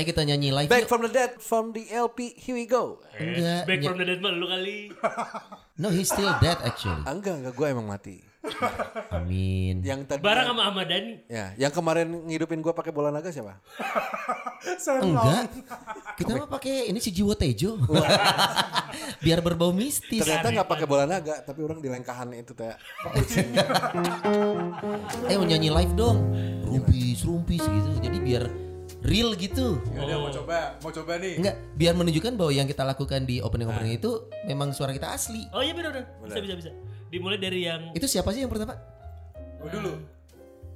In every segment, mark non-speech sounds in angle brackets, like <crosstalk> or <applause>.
Eh, kita nyanyi live yuk. Back from the dead from the LP Here we go. Enggak, Back ny- from the dead mah lu kali. No, he's still dead actually. Ah, enggak enggak gue emang mati. Amin. Yang tadi Barang sama Ahmad Dhani. Ya, yang kemarin ngidupin gue pakai bola naga siapa? Enggak. Kita mah pakai ini si Jiwo Tejo. <laughs> Biar berbau mistis. Ternyata nggak pakai bola naga, tapi orang di lengkahan itu teh. Eh mau nyanyi live dong. Rumpis, rumpis gitu. Jadi biar real gitu. Ya Yaudah mau coba, mau coba nih. Enggak, biar menunjukkan bahwa yang kita lakukan di Nah. opening-opening itu memang suara kita asli. Oh iya benar benar. Bisa bisa bisa. Dimulai dari yang Itu siapa sih yang pertama? Gue dulu.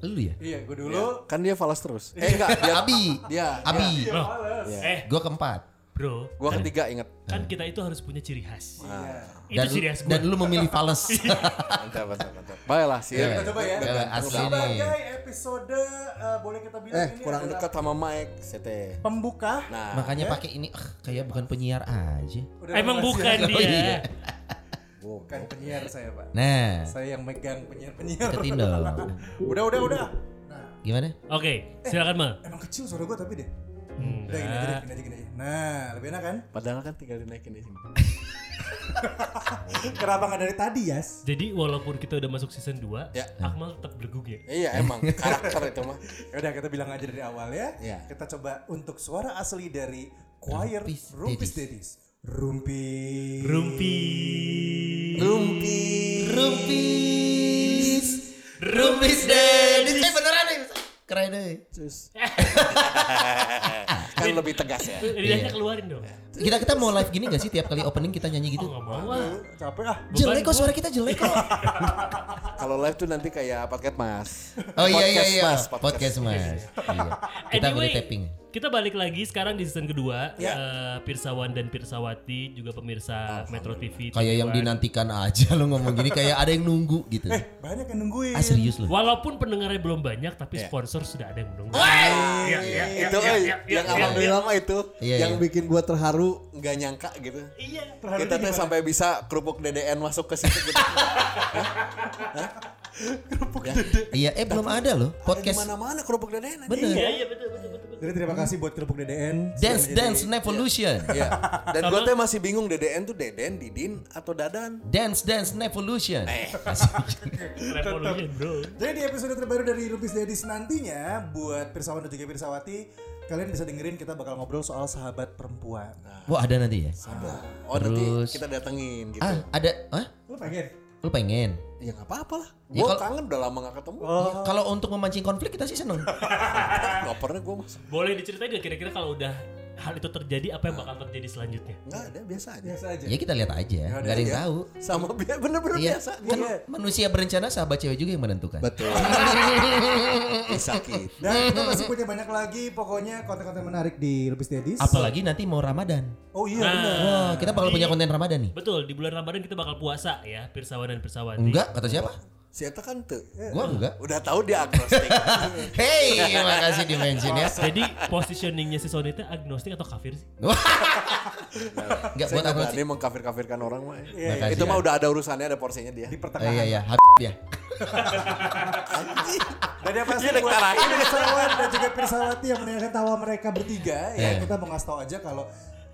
Lu ya? Iya, gue dulu. Kan dia falas terus. Eh enggak, dia Abi. Dia, Iya, Abi. Bro. Eh, Gua keempat. bro. Gue ketiga inget. Kan kita itu harus punya ciri khas. Itu Iya. Dan, ciri khas dan gue. lu memilih <laughs> fals. Iya. Mantap, mantap, mantap. Baiklah sih. Iya, Kita coba ya. Eh, Asli nih. Sebagai episode eh, boleh kita bilang Eh, ini kurang adalah dekat sama Mike, sete. pembuka. Nah, Makanya pakai ini ah, kayak bukan penyiar aja. Emang bukan Oh, iya. dia. wow. Bukan penyiar saya, Pak. Nah, Saya yang megang penyiar-penyiar. deketin <laughs> dong. Udah, udah, udah. Gimana? Oke, silakan Mal. Nah, Emang kecil suara gue tapi deh. Iya. Udah gini aja, deh, Enggak. gini aja, gini aja. Nah, lebih enak kan? Padahal kan tinggal dinaikin di sini. Kenapa nggak dari tadi, Yas? Jadi walaupun kita udah masuk season 2, Iya. Ya. Akmal tetap bergug ya. Iya, emang karakter itu mah. Ya udah kita bilang aja dari awal ya. Iya. Kita coba untuk suara asli dari choir Rumpis Rumpis, Daddies. Rumpis. Rumpi. Rumpi. Rumpis. Rumpis Dennis. Eh beneran nih. Keren deh. Terus. kan lebih tegas Iya. ya. Lidahnya keluarin dong. Kita kita mau live gini gak sih tiap kali opening kita nyanyi gitu? Oh, nggak mau ah. Capek ah. jelek kok gua. suara kita jelek kok. Kalau live tuh nanti kayak podcast Mas. Oh iya iya Podcast iya. Mas, podcast. Podcast Mas. Iya. Kita udah tapping. kita balik lagi sekarang di season kedua. Ya. Eh, Pirsawan dan Pirsawati juga pemirsa Metro TV. Kayak yang Tujuan. dinantikan aja lo ngomong gini kayak ada yang nunggu gitu. Eh, Banyak yang nungguin. Ah serius lo. Walaupun pendengarnya belum banyak, tapi Ya. sponsor sudah ada yang menunggu. Iya, iya, iya, itu iya, eh, iya, iya, yang iya. alhamdulillah mah itu Iya, yang iya. bikin gua terharu nggak nyangka gitu. Iya. kita teh sampai bisa kerupuk DDN masuk ke situ <laughs> gitu. Ya. Iya eh belum ada loh Di podcast. mana-mana kerupuk DDN. aja. Bener. Iya, iya betul betul betul. betul. Jadi terima kasih buat kerupuk DDN. Dance Sudah Dance Revolution. Iya. Dan gua teh masih bingung DDN tuh Deden, Didin atau Dadan. Dance Dance Revolution. Eh. Revolution, Bro. Jadi di episode terbaru dari Rumpis Daddies nantinya buat Pirsawan dan juga Pirsawati kalian bisa dengerin kita bakal ngobrol soal sahabat perempuan. Nah, Wah ada nanti ya. Oh nanti Terus. kita datengin gitu. Ah ada. Hah? Lu pengen? Lu pengen? Ya nggak apa-apa lah. Ya, Gua kalau- kangen udah lama nggak ketemu. Oh. <laughs> Kalau untuk memancing konflik kita sih seneng. Nggak pernah gua masuk. Boleh diceritain gak kira-kira kalau udah hal itu terjadi apa yang bakal terjadi selanjutnya? Nggak ada biasa aja. Biasa aja. ya kita lihat aja. Gak ada yang Ya, tahu. Sama bi- bener-bener Iya. biasa. Kan manusia berencana sahabat cewek juga yang menentukan. <laughs> Betul. Sakit. Dan kita masih punya banyak lagi pokoknya konten-konten menarik di Rumpis Daddies. Apalagi nanti mau Ramadan. Oh iya Nah. benar. <laughs> Wah, kita bakal punya konten Ramadan nih. Betul, di bulan Ramadan kita bakal puasa ya, Pirsawan dan Pirsawati. Enggak, kata siapa? Si Eta kan tuh. Gua enggak. Udah tahu <laughs> dia agnostik. Hey, makasih di mention ya. Jadi positioningnya si Sony itu agnostik atau kafir sih? Enggak Saya buat nggak aku sih. berani mengkafir-kafirkan orang mah. Makasih, Itu mah ya. udah ada urusannya, ada porsinya dia. Di Oh, pertengahan. iya iya, habib ya. Dan yang Ya, pasti Dia buat deklarasi. Pirsawan Iya, dan juga Pirsawati yang menanyakan tawa mereka bertiga Iya. ya kita mau ngasih tahu aja kalau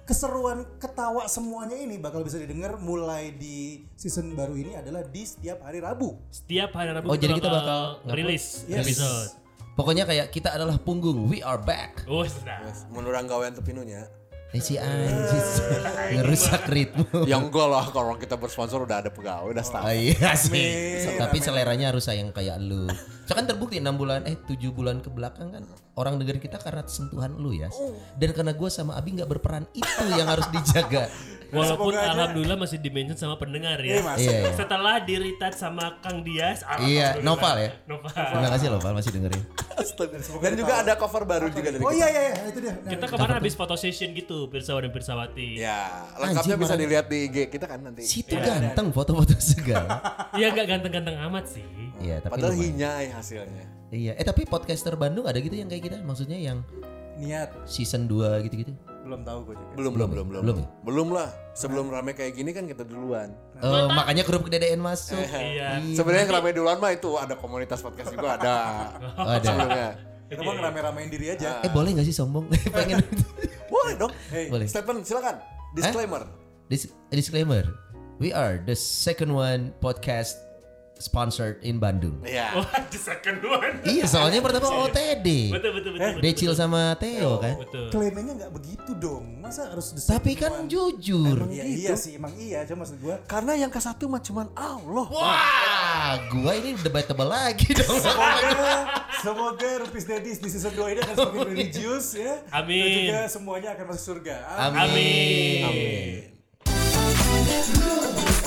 keseruan ketawa semuanya ini bakal bisa didengar mulai di season baru ini adalah di setiap hari Rabu. Setiap hari Rabu Oh, jadi kita bakal ngupload? rilis Yes. episode. Pokoknya kayak kita adalah punggung. We are back. Oh, sedap. Menurut gawean <laughs> tepinunya. Eh si <laughs> anjis ngerusak ritme. Yang ya enggak lah kalau kita bersponsor udah ada pegawai, udah staff. Oh iya sih. Tapi seleranya harus sayang kayak lu. So kan terbukti 6 bulan eh 7 bulan ke belakang kan orang dengerin kita karena sentuhan lu ya. Oh. Dan karena gua sama Abi nggak berperan itu yang harus dijaga. <laughs> Walaupun Nah, Semoga aja. alhamdulillah masih dimention sama pendengar ya. Iya, Mas. Iya. iya. Setelah diritat sama Kang Dias, Iya, alhamdulillah. Noval ya. Noval. Terima kasih loh Val masih dengerin. Dan juga ada cover baru juga dari Oh kita. iya iya iya, Iya. itu dia. Nah, Kita kemarin habis foto session gitu, Pirsawan dan Pirsawati. Ya, lengkapnya Anjing, bisa marah. dilihat di IG kita kan nanti. Situ ganteng foto-foto segala. Iya, nggak ganteng-ganteng amat sih. Iya, tapi Padahal lumayan. hinyai hasilnya. Iya, eh tapi podcaster Bandung ada gitu yang kayak kita, maksudnya yang niat season 2 gitu-gitu. belum tahu gue juga. Belum, belum, belum, belum. Belum ya? Nah. Belum lah. Sebelum rame kayak gini kan kita duluan. Eh, makanya grup kededean masuk. Iya. <laughs> Sebenarnya yang rame duluan mah itu ada komunitas podcast juga ada. Oh, ada. Sebelumnya. Kita mah ngerame-ramein diri aja. Eh boleh gak sih sombong? <laughs> Pengen Boleh dong. Boleh. Stephen silakan. Disclaimer. Dis- disclaimer. We are the second one podcast sponsored in Bandung. Oh, Iya. <laughs> the second one. Iya, soalnya pertama OTD. Betul betul betul. Eh, betul, Decil sama Theo kan. Betul. Iya, Klaimnya nggak begitu dong. Masa harus the Tapi same kan one? jujur. Iya, iya sih, emang iya. Cuma maksud <laughs> gue, Karena yang ke satu mah cuman Allah. Wah, gua ini debatable lagi dong. <laughs> semoga, semoga Rupis Dedis di season 2 ini <laughs> akan semakin religius ya. Amin. Dan juga semuanya akan masuk surga. Amin. Amin. Amin. Amin.